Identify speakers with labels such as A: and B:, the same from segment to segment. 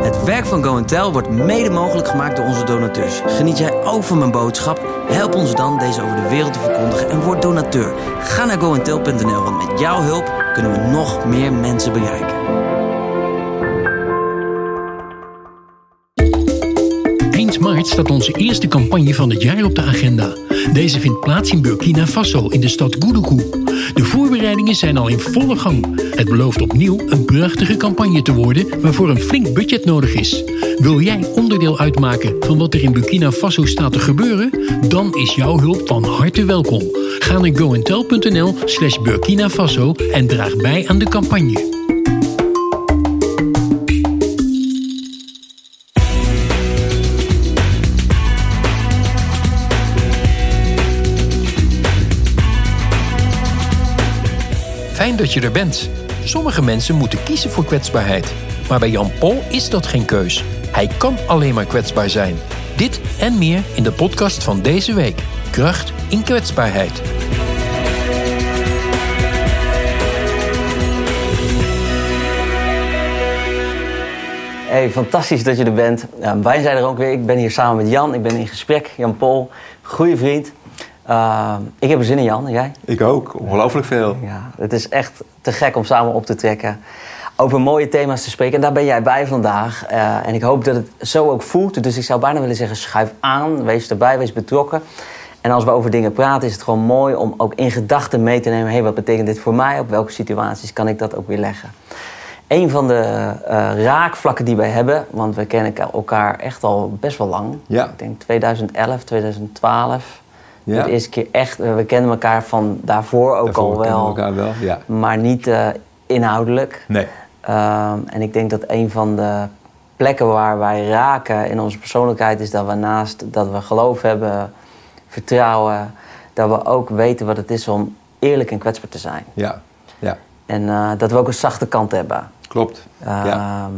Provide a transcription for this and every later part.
A: Het werk van Go Tel wordt mede mogelijk gemaakt door onze donateurs. Geniet jij ook van mijn boodschap? Help ons dan deze over de wereld te verkondigen en word donateur. Ga naar goentel.nl, want met jouw hulp kunnen we nog meer mensen bereiken.
B: Eind maart staat onze eerste campagne van het jaar op de agenda. Deze vindt plaats in Burkina Faso in de stad Goudougou. De voorbereidingen zijn al in volle gang. Het belooft opnieuw een prachtige campagne te worden waarvoor een flink budget nodig is. Wil jij onderdeel uitmaken van wat er in Burkina Faso staat te gebeuren? Dan is jouw hulp van harte welkom. Ga naar goentel.nl slash Burkina Faso en draag bij aan de campagne.
C: Fijn dat je er bent. Sommige mensen moeten kiezen voor kwetsbaarheid. Maar bij Jan Pol is dat geen keus. Hij kan alleen maar kwetsbaar zijn. Dit en meer in de podcast van deze week. Kracht in kwetsbaarheid.
A: Hey, fantastisch dat je er bent. Nou, wij zijn er ook weer. Ik ben hier samen met Jan. Ik ben in gesprek. Jan Pol, goede vriend. Uh, ik heb er zin in, Jan. En jij?
D: Ik ook, ongelooflijk veel.
A: Ja, het is echt te gek om samen op te trekken. Over mooie thema's te spreken. En daar ben jij bij vandaag. Uh, en ik hoop dat het zo ook voelt. Dus ik zou bijna willen zeggen: schuif aan, wees erbij, wees betrokken. En als we over dingen praten, is het gewoon mooi om ook in gedachten mee te nemen: hé, hey, wat betekent dit voor mij? Op welke situaties kan ik dat ook weer leggen? Een van de uh, raakvlakken die wij hebben, want we kennen elkaar echt al best wel lang.
D: Ja.
A: Ik denk 2011, 2012.
D: Ja.
A: De eerste keer echt, eh, we kennen elkaar van daarvoor ook
D: Daarvoor
A: al
D: kennen we
A: wel,
D: elkaar wel, ja.
A: maar niet eh, inhoudelijk.
D: Nee.
A: Ehm, en ik denk dat een van de plekken waar wij raken in onze persoonlijkheid is dat we naast dat we geloof hebben, vertrouwen, dat we ook weten wat het is om eerlijk en kwetsbaar te zijn.
D: Ja, ja.
A: En eh, dat we ook een zachte kant hebben.
D: klopt. ja.
A: Ehm,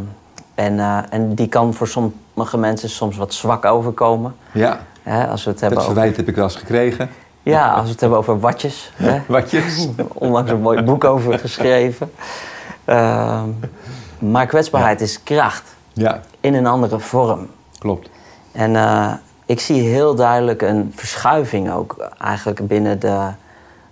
A: en, eh, en die kan voor sommige mensen soms wat zwak overkomen.
D: ja.
A: Hè, als we het hebben
D: Dat
A: over,
D: verwijt heb ik wel eens gekregen.
A: ja, als we het hebben over watjes. Hè?
D: Wat je...
A: onlangs een mooi boek over geschreven. Ehm, maar kwetsbaarheid is kracht
D: Ja,
A: in een andere vorm.
D: klopt.
A: En eh, ik zie heel duidelijk een verschuiving ook eigenlijk binnen de...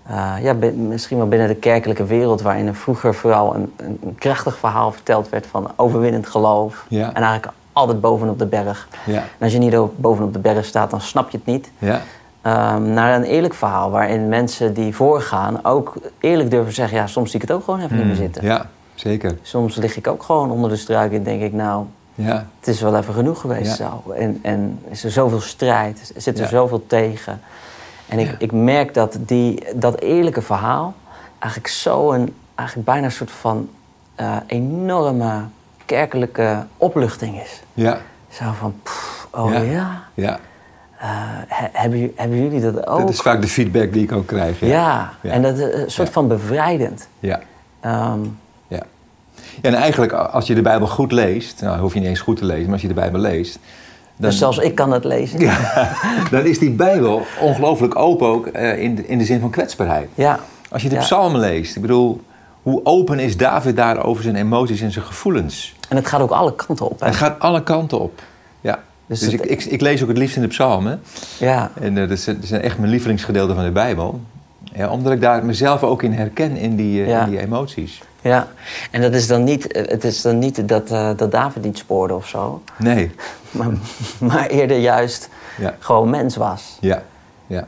A: eh, ja, bin- misschien wel binnen de kerkelijke wereld... waarin er vroeger vooral een, een een krachtig verhaal verteld werd... van overwinnend geloof.
D: Ja.
A: En eigenlijk altijd bovenop de berg.
D: Ja.
A: En als je niet op- bovenop de berg staat, dan snap je het niet.
D: Ja.
A: Ehm, naar een eerlijk verhaal waarin mensen die voorgaan ook eerlijk durven zeggen: ja, soms zie ik het ook gewoon even niet meer zitten.
D: Hmm. Ja, zeker.
A: Soms lig ik ook gewoon onder de struik en denk ik: nou,
D: Ja,
A: het is wel even genoeg geweest
D: Ja.
A: zo. En, en is er zoveel strijd, zit er
D: Ja.
A: zoveel tegen. En ik, ik merk dat die, dat eerlijke verhaal eigenlijk zo'n, eigenlijk bijna een soort van eh, enorme kerkelijke opluchting is.
D: ja,
A: Zo van, pff, oh ja,
D: Ja. ja.
A: eh, he- hebben, ju- hebben jullie dat ook?
D: Dat is vaak de feedback die ik ook krijg.
A: Ja,
D: Ja.
A: en dat is een soort
D: Ja.
A: van bevrijdend.
D: Ja,
A: Ehm,
D: ja. Ja, En eigenlijk, als je de Bijbel goed leest, nou hoef je niet eens goed te lezen, maar als je de Bijbel leest, dan,
A: dus zelfs ik kan het lezen. Ja.
D: dan is die Bijbel ongelooflijk open ook eh, in, de, in de zin van kwetsbaarheid.
A: Ja.
D: Als je de
A: Ja.
D: psalmen leest, ik bedoel, hoe open is David daar over zijn emoties en zijn gevoelens?
A: En het gaat ook alle kanten op. Hè?
D: Het gaat alle kanten op. Ja.
A: Dus
D: Dus,
A: het-
D: ik, ik, ik lees ook het liefst in de psalmen.
A: Ja.
D: En eh, dat zijn dat zijn echt mijn lievelingsgedeelten van de Bijbel. Ja, omdat ik daar mezelf ook in herken in die, eh,
A: Ja.
D: in die emoties.
A: ja, en dat is dan niet, eh, het is dan niet dat, eh, dat David niet spoorde of zo,
D: Nee.
A: maar, maar eerder juist
D: Ja.
A: gewoon mens was.
D: Ja, ja.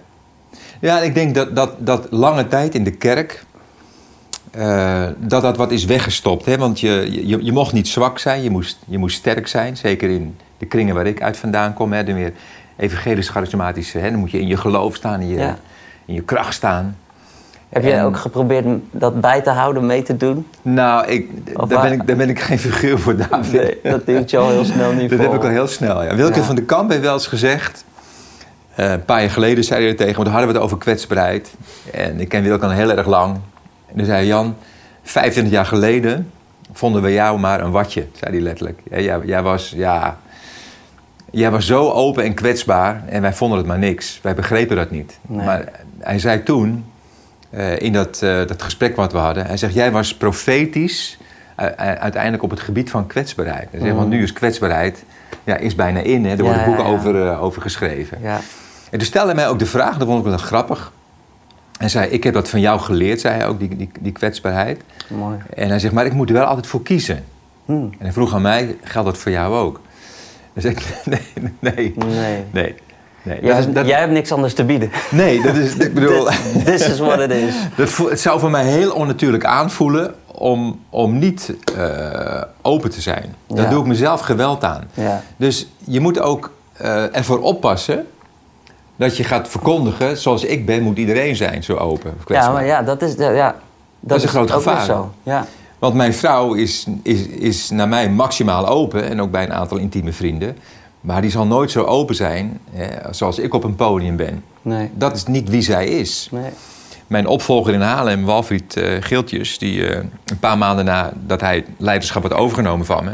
D: Ja, en ik denk dat, dat, dat lange tijd in de kerk... eh, dat dat wat is weggestopt. Hè? Want je, je, je mocht niet zwak zijn, je moest, je moest sterk zijn. Zeker in de kringen waar ik uit vandaan kom. Hè? De meer evangelisch-charismatische. hè, Dan moet je in je geloof staan, in je,
A: Ja.
D: in je kracht staan.
A: Heb jij
D: En-
A: ook geprobeerd m- dat bij te houden, mee te doen?
D: Nou, ik,
A: Of
D: daar,
A: waar-
D: ben ik, daar ben ik geen figuur voor, David.
A: Nee, dat duwt je al heel snel niet
D: Dat
A: vol.
D: heb ik al heel snel, ja. Wilke
A: Ja.
D: van de Kamp heeft wel eens gezegd... eh, een paar jaar geleden zei hij er tegen, want toen hadden we het over kwetsbaarheid. En ik ken Wilke al heel erg lang. En toen zei hij, Jan, 25 jaar geleden vonden we jou maar een watje, zei hij letterlijk. Ja, jij, jij was, ja, jij was zo open en kwetsbaar en wij vonden het maar niks. Wij begrepen dat niet.
A: Nee.
D: Maar hij zei toen, eh, in dat, eh, dat gesprek wat we hadden, hij zegt, jij was profetisch u- u- uiteindelijk op het gebied van kwetsbaarheid. Dus, hè, Want nu is kwetsbaarheid ja, is bijna in. Hè. Er worden
A: Mm. ja,
D: boeken
A: ja.
D: Over, eh, over geschreven.
A: Ja.
D: En toen stelde hij mij ook de vraag, dat vond ik wel grappig. Hij zei, ik heb dat van jou geleerd, zei hij ook, die, die, die kwetsbaarheid.
A: Mooi.
D: En hij zegt, maar ik moet er wel altijd voor kiezen.
A: Mm.
D: En hij vroeg aan mij, geldt dat voor jou ook? Dan zei ik, nee, nee,
A: Nee.
D: nee. nee.
A: Jij,
D: Dat is-
A: hebt-
D: dat-
A: jij hebt niks anders te bieden.
D: Nee, dat is, ik bedoel,
A: This is what it is.
D: dat vo- het zou voor mij heel onnatuurlijk aanvoelen om, om niet eh, open te zijn. Daar
A: Ja.
D: doe ik mezelf geweld aan.
A: Ja.
D: Dus je moet ook eh, ervoor oppassen dat je gaat verkondigen, zoals ik ben, moet iedereen zijn zo open. of
A: Ja,
D: kwetsbaar.
A: maar ja, dat is, ja, ja, dat
D: is een groot
A: ook weer
D: gevaar.
A: Zo. Ja.
D: Want mijn vrouw is, is, is naar mij maximaal open en ook bij een aantal intieme vrienden. Maar die zal nooit zo open zijn hè, zoals ik op een podium ben.
A: Nee.
D: Dat is niet wie zij is.
A: nee.
D: Mijn opvolger in Haarlem, Walfried eh, Geeltjes, die eh, een paar maanden nadat hij het leiderschap had overgenomen van me,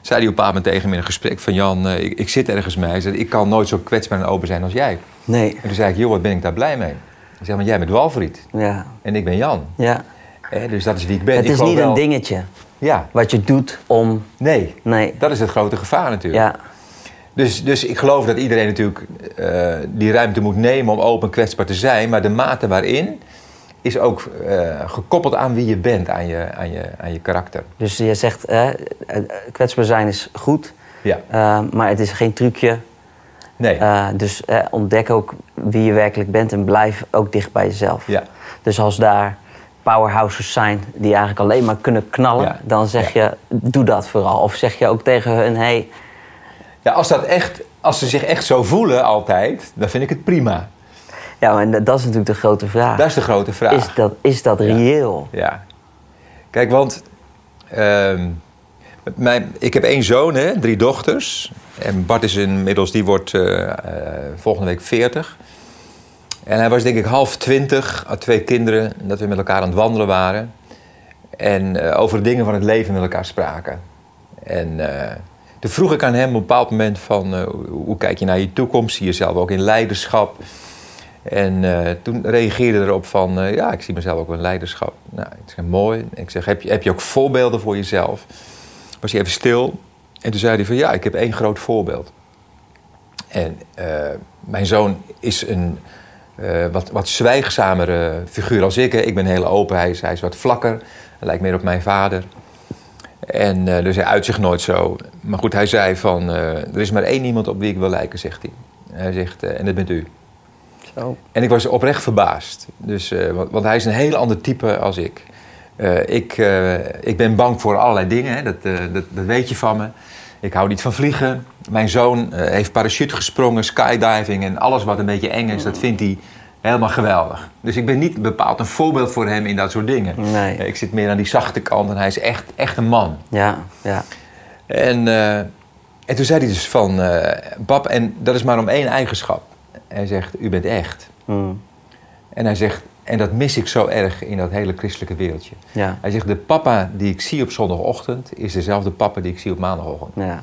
D: zei hij op een bepaald moment tegen me in een gesprek van Jan, eh, ik, ik zit ergens mee. Hij zei, ik kan nooit zo kwetsbaar en open zijn als jij.
A: Nee.
D: En toen zei ik, joh, wat ben ik daar blij mee? Hij zei, maar jij bent Walfried
A: Ja.
D: en ik ben Jan.
A: ja.
D: Hè, dus dat is wie ik ben.
A: Het
D: Ik
A: is
D: geloof
A: niet
D: wel-
A: een dingetje
D: Ja,
A: wat je doet om.
D: nee.
A: Nee.
D: Dat is het grote gevaar natuurlijk.
A: Ja.
D: Dus, dus ik geloof dat iedereen natuurlijk eh, die ruimte moet nemen om open en kwetsbaar te zijn. Maar de mate waarin is ook eh, gekoppeld aan wie je bent, aan je, aan je, aan je karakter.
A: Dus je zegt, eh, eh, kwetsbaar zijn is goed,
D: Ja,
A: eh, maar het is geen trucje.
D: nee.
A: Eh, dus eh, ontdek ook wie je werkelijk bent en blijf ook dicht bij jezelf.
D: Ja.
A: Dus als daar powerhouses zijn die eigenlijk alleen maar kunnen knallen,
D: Ja.
A: dan zeg je, doe dat vooral. Of zeg je ook tegen hun, hey,
D: ja, als, dat echt, als ze zich echt zo voelen altijd, dan vind ik het prima.
A: ja, en dat is natuurlijk de grote vraag.
D: Dat is de grote vraag.
A: Ah. Is dat, is dat reëel?
D: Ja. Kijk, want ehm, mijn, ik heb één zoon, hè, drie dochters. En Bart is inmiddels, die wordt eh, eh, volgende week 40. En hij was denk ik half twintig, had twee kinderen, dat we met elkaar aan het wandelen waren. En eh, over de dingen van het leven met elkaar spraken. En eh, toen vroeg ik aan hem op een bepaald moment van, eh, hoe- hoe kijk je naar je toekomst? Zie je jezelf ook in leiderschap? En eh, toen reageerde hij erop van, eh, ja, ik zie mezelf ook wel in leiderschap. Nou, ik zeg, mooi. Ik zeg, heb je, heb je ook voorbeelden voor jezelf? Was hij even stil. En toen zei hij van, ja, ik heb één groot voorbeeld. En eh, mijn zoon is een eh, wat, wat zwijgzamere figuur als ik. Hè. Ik ben heel open, hij is, hij is wat vlakker. Hij lijkt meer op mijn vader. En eh, dus hij uit zich nooit zo. Maar goed, hij zei van, eh, er is maar één iemand op wie ik wil lijken, zegt hij. Hij zegt, eh, en dat bent u.
A: Zo.
D: En ik was oprecht verbaasd. Dus, eh, want, want hij is een heel ander type als ik. Eh, ik, eh, ik ben bang voor allerlei dingen, hè. Dat, eh, dat, dat weet je van me. Ik hou niet van vliegen. Mijn zoon eh, heeft parachute gesprongen, skydiving en alles wat een beetje eng is, dat vindt hij helemaal geweldig. Dus ik ben niet bepaald een voorbeeld voor hem in dat soort dingen.
A: Nee.
D: Eh, ik zit meer aan die zachte kant en hij is echt, echt een man.
A: Ja, ja.
D: En, eh, en toen zei hij dus van, eh Bab, en dat is maar om één eigenschap. Hij zegt, u bent echt.
A: Hmm.
D: En hij zegt, en dat mis ik zo erg in dat hele christelijke wereldje.
A: Ja.
D: Hij zegt, de papa die ik zie op zondagochtend is dezelfde papa die ik zie op maandagochtend.
A: ja.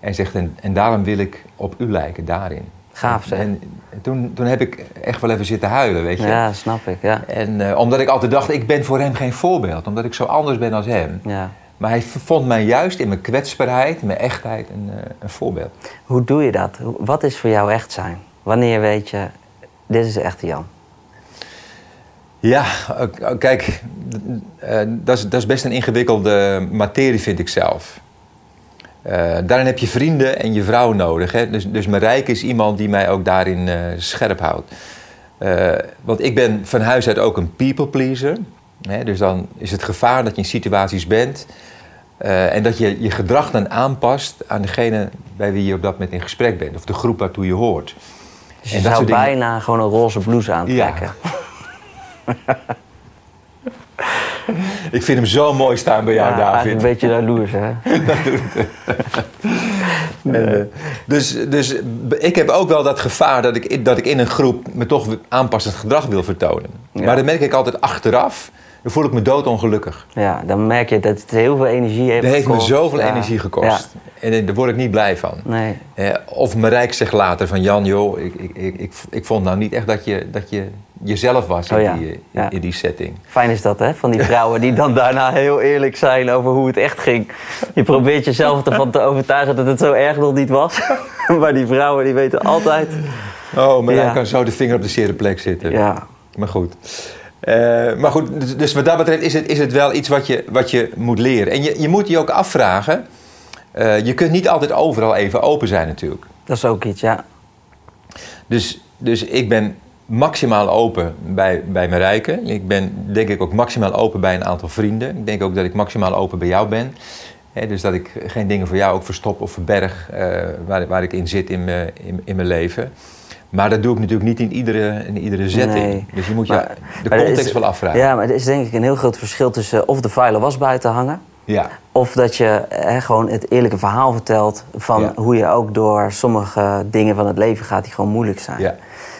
D: Hij zegt, en, en daarom wil ik op u lijken, daarin.
A: Gaaf zeg.
D: En toen, toen heb ik echt wel even zitten huilen, weet je.
A: Ja, snap ik. Ja.
D: En eh, omdat ik altijd dacht, ik ben voor hem geen voorbeeld. Omdat ik zo anders ben als hem.
A: Ja.
D: Maar hij v- vond mij juist in mijn kwetsbaarheid, mijn echtheid, een, eh, een voorbeeld.
A: Hoe doe je dat? Hoe- Wat is voor jou echt zijn? Wanneer weet je, dit is echt Jan?
D: Ja, ook- ook- kijk, d- eh, dat is- dat is best een ingewikkelde materie, vind ik zelf. Eh, daarin heb je vrienden en je vrouw nodig. Hè? Dus, dus Marijke is iemand die mij ook daarin eh, scherp houdt. Eh, want ik ben van huis uit ook een people pleaser. Hè? Dus dan is het gevaar dat je in situaties bent... eh, en dat je je gedrag dan aanpast aan degene bij wie je op dat moment in gesprek bent. Of de groep waartoe je hoort.
A: Dus
D: En
A: je
D: dat
A: zou
D: soort dingen-
A: bijna gewoon een roze blouse aantrekken.
D: Ik vind hem zo mooi staan bij jou, David.
A: Een beetje jaloers, hè?
D: Dus, dus b- ik heb ook wel dat gevaar dat ik, in- dat ik in een groep me toch aanpassend gedrag wil vertonen. Maar dat merk ik altijd achteraf. Dan voel ik me doodongelukkig.
A: Ja, dan merk je dat het heel veel energie heeft
D: Dat heeft me
A: gekost.
D: zoveel
A: Ja.
D: energie gekost.
A: Ja.
D: En eh, daar word ik niet blij van.
A: Nee.
D: Eh, of Marijk zegt later van Jan, joh, ik, ik, ik, ik, ik vond nou niet echt dat je, dat je jezelf was
A: Oh
D: in,
A: ja,
D: die, eh, in-
A: ja.
D: in die setting.
A: Fijn is dat, hè? Van die vrouwen die dan daarna heel eerlijk zijn over hoe het echt ging. Je probeert jezelf ervan te overtuigen dat het zo erg nog niet was. Maar die vrouwen die weten altijd.
D: Oh, Marijk
A: Ja.
D: kan zo de vinger op de zere plek zitten.
A: Ja,
D: Maar goed. Eh, maar goed, dus- dus wat dat betreft is het, is het wel iets wat je, wat je moet leren. En je, je moet je ook afvragen. eh, je kunt niet altijd overal even open zijn natuurlijk.
A: dat is ook iets, ja.
D: Dus, dus ik ben maximaal open bij, bij mijn rijken. Ik ben denk ik ook maximaal open bij een aantal vrienden. Ik denk ook dat ik maximaal open bij jou ben. Hè, dus dat ik geen dingen voor jou ook verstop of verberg eh, waar, waar ik in zit in mijn, in, in mijn leven. Maar dat doe ik natuurlijk niet in iedere, in iedere zetting.
A: Nee.
D: Dus je moet je
A: Maar-
D: de
A: maar er
D: context
A: is-
D: wel afvragen.
A: Ja, maar er is denk ik een heel groot verschil tussen of de vuile was buiten hangen.
D: ja.
A: Of dat je hè, gewoon het eerlijke verhaal vertelt van
D: Ja.
A: hoe je ook door sommige dingen van het leven gaat die gewoon moeilijk zijn.
D: Ja,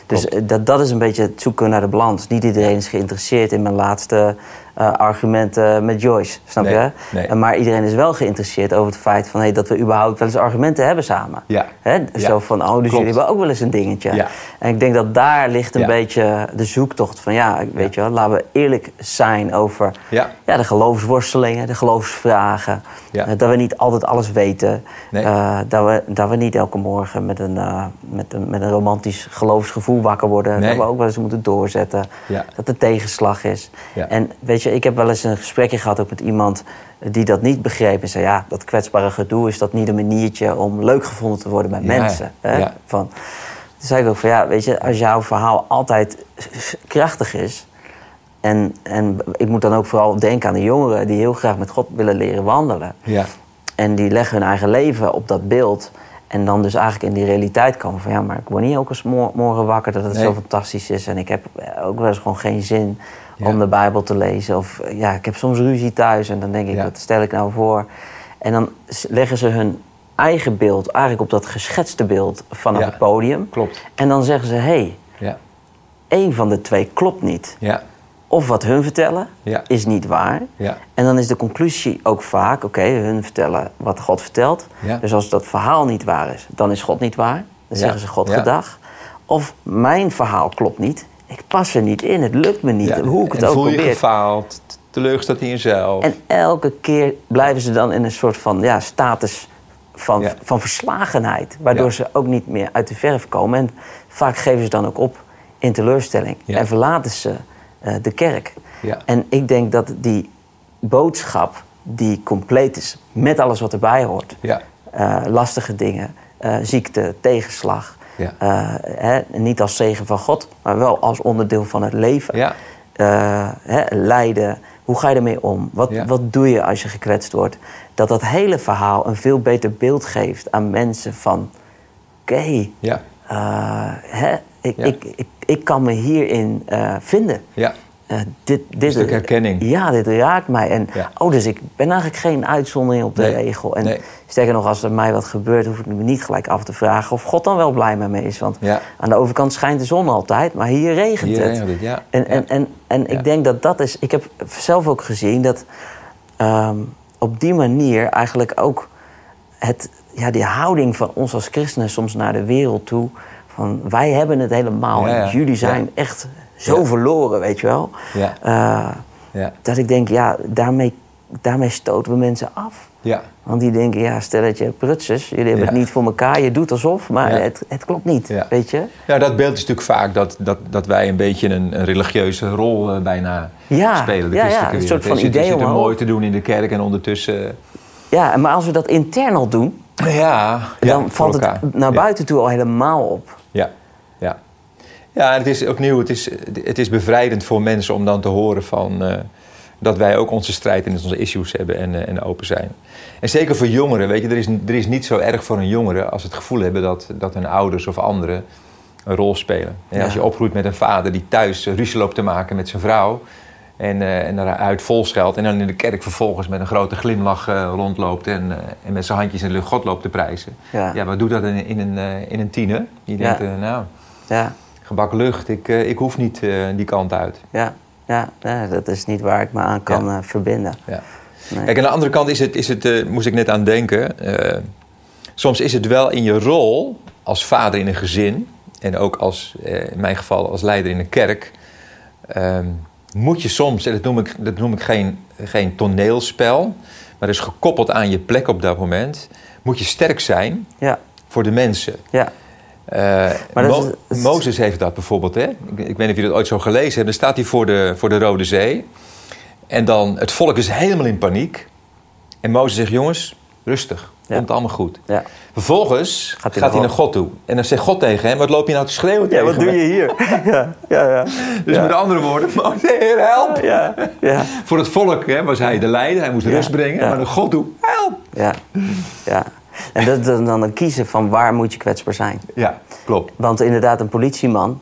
A: Dus eh, dat, dat is een beetje het zoeken naar de balans. Niet iedereen is geïnteresseerd in mijn laatste eh, argumenten met Joyce, snap
D: Nee,
A: je?
D: nee.
A: Eh, Maar iedereen is wel geïnteresseerd over het feit van, hey, dat we überhaupt wel eens argumenten hebben samen.
D: Ja.
A: Hè?
D: Ja.
A: Zo van, oh, dus
D: Klopt.
A: jullie hebben ook wel eens een dingetje.
D: Ja.
A: En ik denk dat daar ligt een
D: Ja.
A: beetje de zoektocht van, ja, weet je wel, laten we eerlijk zijn over
D: Ja.
A: ja, de geloofsworstelingen, de geloofsvragen.
D: Ja.
A: Eh, dat we niet altijd alles weten.
D: Nee.
A: Eh, dat, we, dat we niet elke morgen met een, eh, met een, met een romantisch geloofsgevoel wakker worden.
D: Nee.
A: Dat we ook wel eens moeten doorzetten.
D: Ja.
A: Dat er tegenslag is.
D: Ja.
A: En weet je, ik heb wel eens een gesprekje gehad ook met iemand die dat niet begreep. En zei, ja, dat kwetsbare gedoe is dat niet een maniertje om leuk gevonden te worden bij
D: Ja,
A: mensen. Hè?
D: ja.
A: Van, toen zei ik ook van, ja, weet je, als jouw verhaal altijd krachtig is... En, en ik moet dan ook vooral denken aan de jongeren die heel graag met God willen leren wandelen.
D: Ja.
A: En die leggen hun eigen leven op dat beeld. En dan dus eigenlijk in die realiteit komen van ja, maar ik word niet ook eens mor- morgen wakker dat het
D: Nee.
A: zo fantastisch is. En ik heb eh, ook wel eens gewoon geen zin
D: Ja.
A: om de Bijbel te lezen. Of eh, ja, ik heb soms ruzie thuis en dan denk ik,
D: Ja.
A: wat stel ik nou voor? En dan s- leggen ze hun eigen beeld eigenlijk op dat geschetste beeld vanaf
D: Ja,
A: het podium.
D: klopt.
A: En dan zeggen ze, hé, hey,
D: Ja.
A: één van de twee klopt niet.
D: Ja.
A: Of wat hun vertellen
D: Ja.
A: is niet waar.
D: Ja.
A: En dan is de conclusie ook vaak: oké, hun vertellen wat God vertelt.
D: Ja.
A: Dus als dat verhaal niet waar is, dan is God niet waar. Dan zeggen ze God
D: Ja.
A: gedag. Of mijn verhaal klopt niet. Ik pas er niet in. Het lukt me niet.
D: Ja.
A: Hoe ik het
D: en
A: ook
D: voel je
A: probeer.
D: gefaald, t- teleurgesteld in jezelf.
A: En elke keer blijven ze dan in een soort van ja, status van,
D: Ja.
A: van verslagenheid. Waardoor
D: Ja.
A: ze ook niet meer uit de verf komen. En vaak geven ze dan ook op in teleurstelling.
D: Ja.
A: En verlaten ze eh, de kerk.
D: Ja.
A: En ik denk dat die boodschap die compleet is met alles wat erbij hoort.
D: Ja.
A: eh, lastige dingen, eh, ziekte, tegenslag.
D: Ja.
A: eh, hè, niet als zegen van God, maar wel als onderdeel van het leven
D: Ja.
A: eh, hè, lijden. Hoe ga je ermee om? Wat,
D: Ja.
A: wat doe je als je gekwetst wordt? Dat dat hele verhaal een veel beter beeld geeft aan mensen van... Oké,
D: Ja.
A: eh, hè, ik,
D: Ja.
A: ik, ik, ik kan me hierin eh, vinden.
D: Ja.
A: Eh, dit, dit,
D: stuk herkenning.
A: Ja, dit raakt mij. En,
D: Ja.
A: Oh, dus ik ben eigenlijk geen uitzondering op de
D: Nee,
A: regel. En
D: nee.
A: sterker nog, als er mij wat gebeurt, hoef ik me niet gelijk af te vragen of God dan wel blij met me is. Want
D: Ja.
A: aan de overkant schijnt de zon altijd, maar hier regent
D: Hier
A: het.
D: regent het, ja.
A: En,
D: Ja.
A: en, en, en
D: Ja.
A: ik denk dat dat is. Ik heb zelf ook gezien dat ehm, op die manier eigenlijk ook het, ja, die houding van ons als christenen soms naar de wereld toe. Van wij hebben het helemaal.
D: Ja, ja.
A: en Jullie zijn
D: Ja.
A: echt zo
D: Ja.
A: verloren, weet je wel.
D: Ja.
A: Eh,
D: Ja.
A: dat ik denk, ja, daarmee, daarmee stoten we mensen af.
D: Ja.
A: Want die denken, ja, stelletje prutsers, jullie hebben
D: Ja.
A: het niet voor elkaar, je doet alsof, maar
D: Ja.
A: het, het klopt niet,
D: Ja.
A: weet je?
D: Ja, dat beeld is natuurlijk vaak dat, dat, dat wij een beetje een, een religieuze rol eh, bijna
A: Ja,
D: spelen. De
A: ja, ja,
D: christelijke
A: een soort
D: wereld.
A: van
D: je zit, je
A: idee
D: zit er
A: omhoog.
D: mooi te doen in de kerk en ondertussen...
A: Ja, maar als we dat intern al doen,
D: Ja,
A: dan
D: ja, voor
A: valt
D: elkaar.
A: het naar
D: Ja.
A: buiten toe al helemaal op.
D: Ja, ja. Ja, het is opnieuw, het is, het is bevrijdend voor mensen om dan te horen van... eh, dat wij ook onze strijd en onze issues hebben en, eh, en open zijn. En zeker voor jongeren, weet je, er is, er is niet zo erg voor een jongere... als ze het gevoel hebben dat, dat hun ouders of anderen een rol spelen. En
A: Ja.
D: als je opgroeit met een vader die thuis eh, ruzie loopt te maken met zijn vrouw... En, eh, en daaruit vol scheldt en dan in de kerk vervolgens met een grote glimlach eh, rondloopt... En, eh, en met zijn handjes in de lucht God loopt te prijzen.
A: Ja.
D: Ja, wat doet dat in, in, een, eh, in een tiener? Die
A: Ja.
D: denkt, eh, nou,
A: Ja,
D: gebakken lucht, ik, eh, ik hoef niet eh, die kant uit.
A: ja, ja, ja, dat is niet waar ik me aan kan eh, verbinden.
D: Ja.
A: Nee.
D: Kijk, aan de andere kant is het, is het, eh, moest ik net aan denken. eh, soms is het wel in je rol als vader in een gezin en ook als, eh, in mijn geval als leider in een kerk, ehm, moet je soms, en dat noem ik, dat noem ik geen, geen toneelspel, maar dat is gekoppeld aan je plek op dat moment, moet je sterk zijn
A: Ja,
D: voor de mensen.
A: ja.
D: Eh,
A: Maar dat
D: Mo-
A: is- is-
D: Mozes heeft dat bijvoorbeeld. Hè? Ik, ik weet niet of jullie dat ooit zo gelezen hebben. Dan staat hij voor de, voor de Rode Zee. En dan, het volk is helemaal in paniek. En Mozes zegt, jongens, rustig.
A: Ja.
D: Komt allemaal goed.
A: ja.
D: Vervolgens gaat
A: Gaat
D: hij,
A: hij
D: naar
A: naar
D: God toe. En dan zegt God tegen hem, wat loop je nou te schreeuwen
A: Ja,
D: tegen
A: wat doe
D: me?"
A: je hier? ja, ja, ja.
D: Dus met andere woorden, Mozes, heer, help!
A: Ja, ja,
D: Voor het volk hè, was hij de leider, hij moest rust brengen.
A: ja.
D: Maar naar God toe, help!
A: ja. ja. En dat, dan, dan kiezen van waar moet je kwetsbaar zijn.
D: Ja, klopt.
A: Want inderdaad, een politieman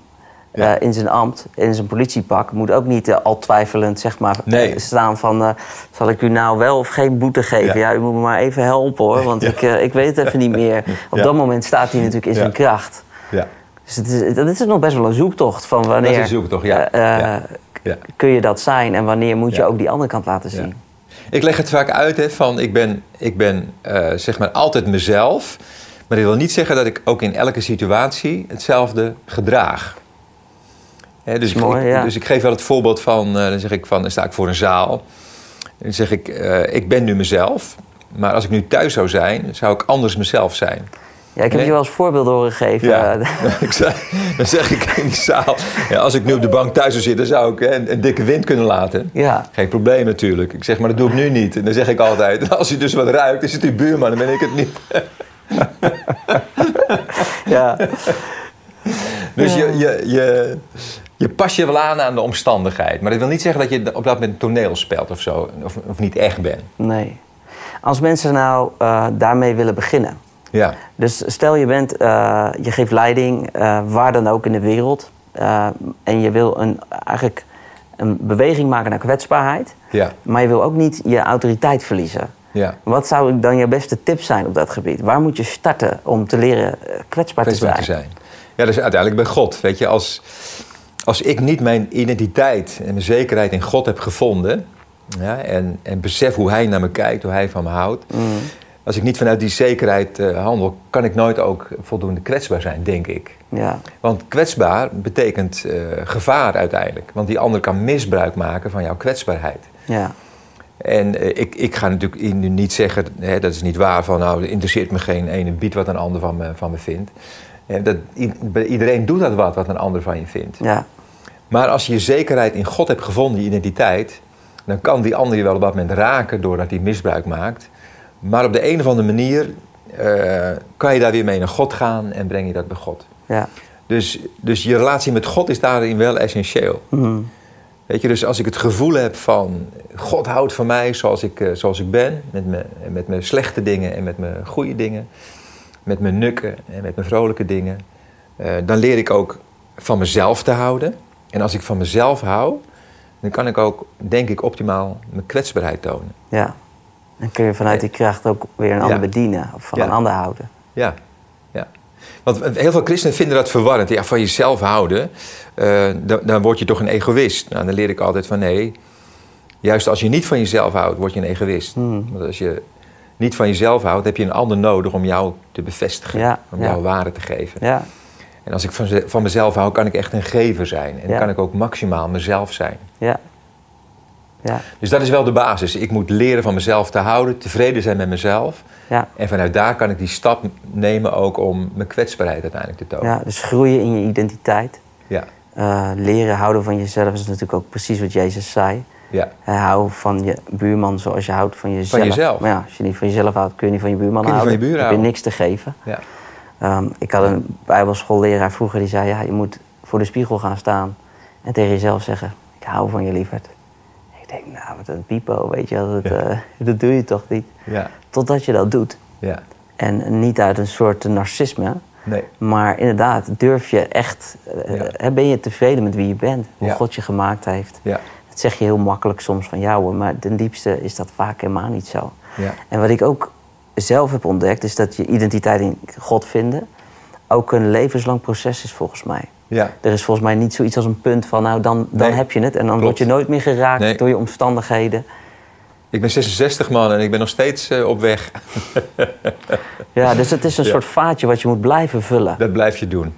D: Ja.
A: eh, in zijn ambt, in zijn politiepak, moet ook niet eh, al twijfelend zeg maar,
D: Nee.
A: eh, staan van... eh, zal ik u nou wel of geen boete geven?
D: Ja.
A: Ja, u moet me maar even helpen hoor, want ik, eh, ik weet het even niet meer. Op
D: Ja.
A: dat moment staat hij natuurlijk in
D: Ja.
A: zijn kracht.
D: Ja,
A: Dus het is, dat is nog best wel een zoektocht van wanneer...
D: dat is een zoektocht, ja.
A: eh, eh,
D: ja. ja.
A: Kun je dat zijn en wanneer moet je
D: Ja.
A: ook die andere kant laten zien?
D: Ik leg het vaak uit hè, van ik ben, ik ben eh, zeg maar altijd mezelf. Maar dat wil niet zeggen dat ik ook in elke situatie hetzelfde gedraag. Hè, dus,
A: is mooi,
D: ik,
A: ja.
D: dus ik geef wel het voorbeeld van, eh, dan zeg ik van, dan sta ik voor een zaal. Dan zeg ik, eh, ik ben nu mezelf. Maar als ik nu thuis zou zijn, zou ik anders mezelf zijn.
A: Ja, ik heb
D: Nee.
A: je wel eens voorbeelden horen geven.
D: Ja.
A: eh,
D: Ik zei- dan zeg ik in die zaal, ja, als ik nu op de bank thuis zou zitten, zou ik hè, een, een dikke wind kunnen laten.
A: ja.
D: Geen probleem natuurlijk. Ik zeg, maar dat doe ik nu niet. En dan zeg ik altijd, als u dus wat ruikt, is het uw buurman, dan ben ik het niet.
A: ja.
D: Dus je, je, je, je pas je wel aan aan de omstandigheid. Maar dat wil niet zeggen dat je op dat moment toneel speelt of zo. Of, of niet echt bent.
A: Nee. Als mensen nou eh, daarmee willen beginnen.
D: Ja.
A: Dus stel je bent, eh, je geeft leiding eh, waar dan ook in de wereld. eh, en je wil een, eigenlijk een beweging maken naar kwetsbaarheid.
D: Ja.
A: Maar je wil ook niet je autoriteit verliezen.
D: Ja.
A: Wat zou dan je beste tip zijn op dat gebied? Waar moet je starten om te leren eh, kwetsbaar,
D: kwetsbaar
A: te zijn?
D: te zijn. Ja, dat is uiteindelijk bij God. Weet je, als, als ik niet mijn identiteit en mijn zekerheid in God heb gevonden... Ja, en, en besef hoe Hij naar me kijkt, hoe Hij van me houdt... als ik niet vanuit die zekerheid eh, handel... kan ik nooit ook voldoende kwetsbaar zijn, denk ik.
A: Ja,
D: Want kwetsbaar betekent eh, gevaar uiteindelijk. Want die ander kan misbruik maken van jouw kwetsbaarheid.
A: ja,
D: En eh, ik, ik ga natuurlijk in- nu niet zeggen, hè, dat is niet waar, van nou, het interesseert me geen ene bied wat een ander van me, van me vindt. Eh, dat, i- bij iedereen doet dat wat, wat een ander van je vindt.
A: ja,
D: Maar als je je zekerheid in God hebt gevonden, je identiteit, dan kan die ander je wel op dat moment raken doordat hij misbruik maakt. Maar op de een of andere manier eh, kan je daar weer mee naar God gaan en breng je dat bij God.
A: ja.
D: Dus, dus je relatie met God is daarin wel essentieel.
A: Mhm.
D: Weet je, dus als ik het gevoel heb van God houdt van mij zoals ik, eh, zoals ik ben, met mijn, met mijn slechte dingen en met mijn goede dingen, met mijn nukken en met mijn vrolijke dingen, eh, dan leer ik ook van mezelf te houden. En als ik van mezelf hou, dan kan ik ook, denk ik, optimaal mijn kwetsbaarheid tonen.
A: ja. Dan kun je vanuit die kracht ook weer een ander bedienen. Of van
D: Ja.
A: een ander houden.
D: Ja, ja. Want heel veel christenen vinden dat verwarrend. Ja, van jezelf houden, eh, dan, dan word je toch een egoïst. Nou, dan leer ik altijd van nee. Juist als je niet van jezelf houdt, word je een egoïst.
A: Hmm.
D: Want als je niet van jezelf houdt, heb je een ander nodig om jou te bevestigen.
A: Ja,
D: om
A: ja.
D: jou waarde te geven.
A: Ja,
D: En als ik van, ze- van mezelf hou, kan ik echt een gever zijn. En
A: Ja.
D: kan ik ook maximaal mezelf zijn.
A: ja. Ja,
D: Dus dat is wel de basis. Ik moet leren van mezelf te houden, tevreden zijn met mezelf.
A: ja.
D: En vanuit daar kan ik die stap nemen ook om mijn kwetsbaarheid uiteindelijk te tonen.
A: ja. Dus groeien in je identiteit.
D: Ja,
A: Eh, leren houden van jezelf is natuurlijk ook precies wat Jezus zei.
D: ja.
A: Eh, hou van je buurman zoals je houdt van jezelf.
D: jezelf.
A: Maar ja, als je niet van jezelf houdt, kun je niet van je buurman
D: Kun je niet
A: houden.
D: van je buren
A: heb je
D: houden.
A: niks te geven.
D: ja.
A: Ehm, ik had een bijbelschoolleraar vroeger die zei... Ja, je moet voor de spiegel gaan staan en tegen jezelf zeggen... ik hou van je lieverd. Ik denk, nou, wat een piepo, weet je wel. Dat,
D: Ja.
A: eh, dat doe je toch niet?
D: Ja,
A: Totdat je dat doet.
D: ja.
A: En niet uit een soort narcisme.
D: Nee.
A: Maar inderdaad, durf je echt... eh,
D: Ja.
A: hè, Ben je tevreden met wie je bent? Hoe
D: Ja.
A: God je gemaakt heeft?
D: Ja.
A: Dat zeg je heel makkelijk soms van jou, hoor, maar ten diepste is dat vaak helemaal niet zo.
D: Ja.
A: En wat ik ook zelf heb ontdekt, is dat je identiteit in God vinden ook een levenslang proces is volgens mij.
D: Ja.
A: Er is volgens mij niet zoiets als een punt van, nou dan, dan
D: Nee.
A: heb je het en dan
D: Klopt.
A: word je nooit meer geraakt
D: Nee.
A: door je omstandigheden.
D: Ik ben 66 man en ik ben nog steeds eh, op weg.
A: Ja, dus het is een
D: Ja.
A: soort vaatje wat je moet blijven vullen.
D: Dat blijf je doen.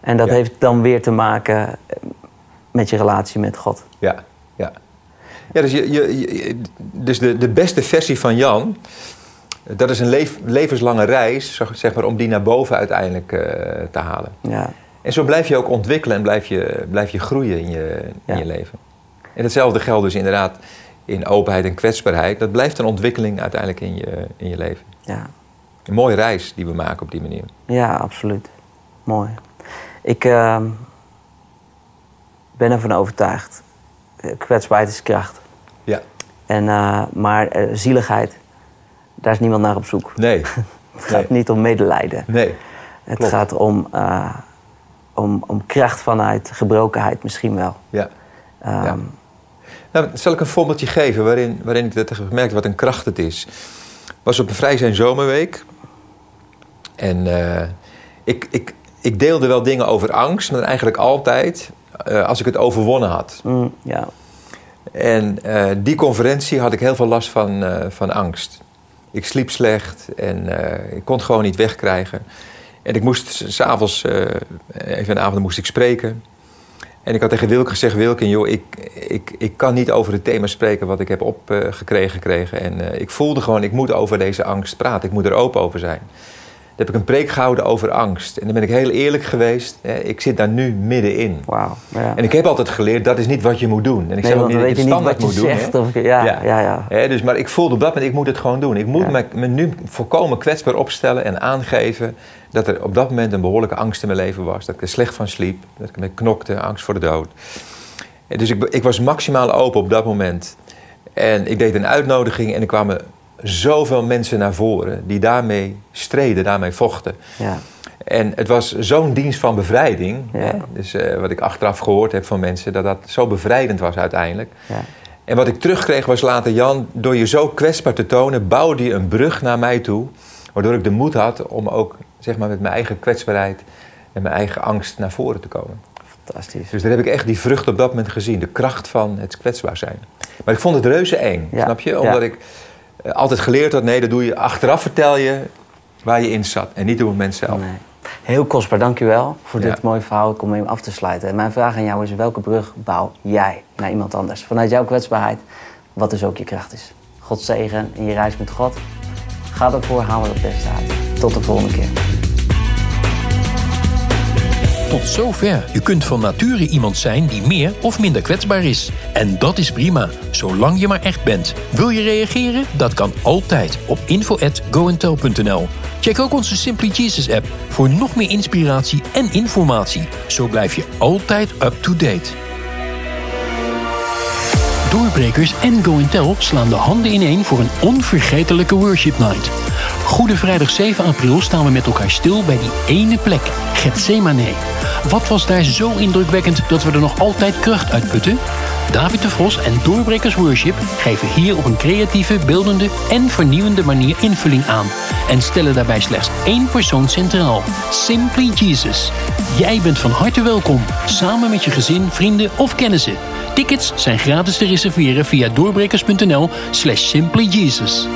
A: En dat
D: Ja.
A: heeft dan weer te maken eh, met je relatie met God.
D: Ja, ja. ja dus je, je, je- dus de, de beste versie van Jan, dat is een leef- levenslange reis, zeg- zeg maar, om die naar boven uiteindelijk eh, te halen.
A: Ja.
D: En zo blijf je ook ontwikkelen en blijf je, blijf je groeien in je,
A: Ja.
D: in je leven. En hetzelfde geldt dus inderdaad in openheid en kwetsbaarheid. Dat blijft een ontwikkeling uiteindelijk in je, in je leven.
A: Ja.
D: Een mooie reis die we maken op die manier.
A: Ja, absoluut. Mooi. Ik ehm, ben ervan overtuigd. Eh, Kwetsbaarheid is kracht.
D: Ja.
A: En, eh, maar eh, zieligheid, daar is niemand naar op zoek.
D: Nee.
A: Het gaat niet om medelijden.
D: Nee.
A: Het
D: klopt.
A: gaat om, eh, om, om kracht vanuit gebrokenheid misschien wel.
D: Ja.
A: Ehm,
D: Ja. Nou, zal ik een voorbeeltje geven waarin, waarin ik dat heb gemerkt wat een kracht het is. was op een vrij zijn zomerweek. En eh, ik, ik, ik deelde wel dingen over angst, maar eigenlijk altijd eh, als ik het overwonnen had.
A: mm, ja.
D: En eh, die conferentie had ik heel veel last van, eh, van angst. Ik sliep slecht en eh, ik kon het gewoon niet wegkrijgen. En ik moest s- s'avonds, eh even een avond moest ik spreken. En ik had tegen Wilke gezegd, Wilke, joh, ik, ik, ik kan niet over het thema spreken wat ik heb opgekregen gekregen. En eh, ik voelde gewoon, ik moet over deze angst praten. Ik moet er open over zijn. Toen heb ik een preek gehouden over angst. En dan ben ik heel eerlijk geweest. hè, Ik zit daar nu middenin.
A: Wauw. Ja.
D: En ik heb altijd geleerd, dat is niet wat je moet doen. En
A: Nee,
D: ik zeg ook
A: want
D: niet
A: dan
D: dat
A: weet
D: je
A: je
D: het
A: niet wat
D: standaard
A: je
D: moet doen. hè.
A: zegt. Of, ja, ja.
D: Ja.
A: Ja,
D: Hè, dus, maar ik voelde op dat moment, ik moet het gewoon doen. Ik moet
A: Ja.
D: me, me nu volkomen kwetsbaar opstellen en aangeven... dat er op dat moment een behoorlijke angst in mijn leven was. Dat ik er slecht van sliep, dat ik me knokte, angst voor de dood. En dus ik, ik was maximaal open op dat moment. En ik deed een uitnodiging en er kwamen zoveel mensen naar voren... die daarmee streden, daarmee vochten.
A: ja.
D: En het was zo'n dienst van bevrijding.
A: Ja.
D: hè, Dus eh, wat ik achteraf gehoord heb van mensen, dat dat zo bevrijdend was uiteindelijk.
A: Ja.
D: En wat ik terugkreeg was later, Jan, door je zo kwetsbaar te tonen, bouwde je een brug naar mij toe. Waardoor ik de moed had om ook zeg maar, met mijn eigen kwetsbaarheid en mijn eigen angst naar voren te komen.
A: Fantastisch.
D: Dus daar heb ik echt die vrucht op dat moment gezien. De kracht van het kwetsbaar zijn. Maar ik vond het reuze eng,
A: Ja,
D: snap je?
A: ja.
D: Omdat ik eh, altijd geleerd had, nee, dat doe je achteraf vertel je waar je in zat. En niet op het moment zelf.
A: Nee. Heel kostbaar, dankjewel voor
D: Ja.
A: dit mooie verhaal. Ik kom mee af te sluiten. En mijn vraag aan jou is: welke brug bouw jij naar iemand anders? Vanuit jouw kwetsbaarheid, wat dus ook je kracht is. God zegen in je reis met God. Ga ervoor, haal er het beste uit. Tot de volgende keer.
C: Tot zover. Je kunt van nature iemand zijn die meer of minder kwetsbaar is. En dat is prima, zolang je maar echt bent. Wil je reageren? Dat kan altijd op info@goentel.nl. Check ook onze Simply Jesus app voor nog meer inspiratie en informatie. Zo blijf je altijd up to date.
B: Doorbrekers en GoIntel slaan de handen ineen voor een onvergetelijke worship night. Goede vrijdag 7 april staan we met elkaar stil bij die ene plek, Gethsemane. Wat was daar zo indrukwekkend dat we er nog altijd kracht uit putten? David de Vos en Doorbrekers Worship geven hier op een creatieve, beeldende en vernieuwende manier invulling aan. En stellen daarbij slechts één persoon centraal: Simply Jesus. Jij bent van harte welkom, samen met je gezin, vrienden of kennissen. Tickets zijn gratis te reserveren via doorbrekers.nl slash simplyjesus.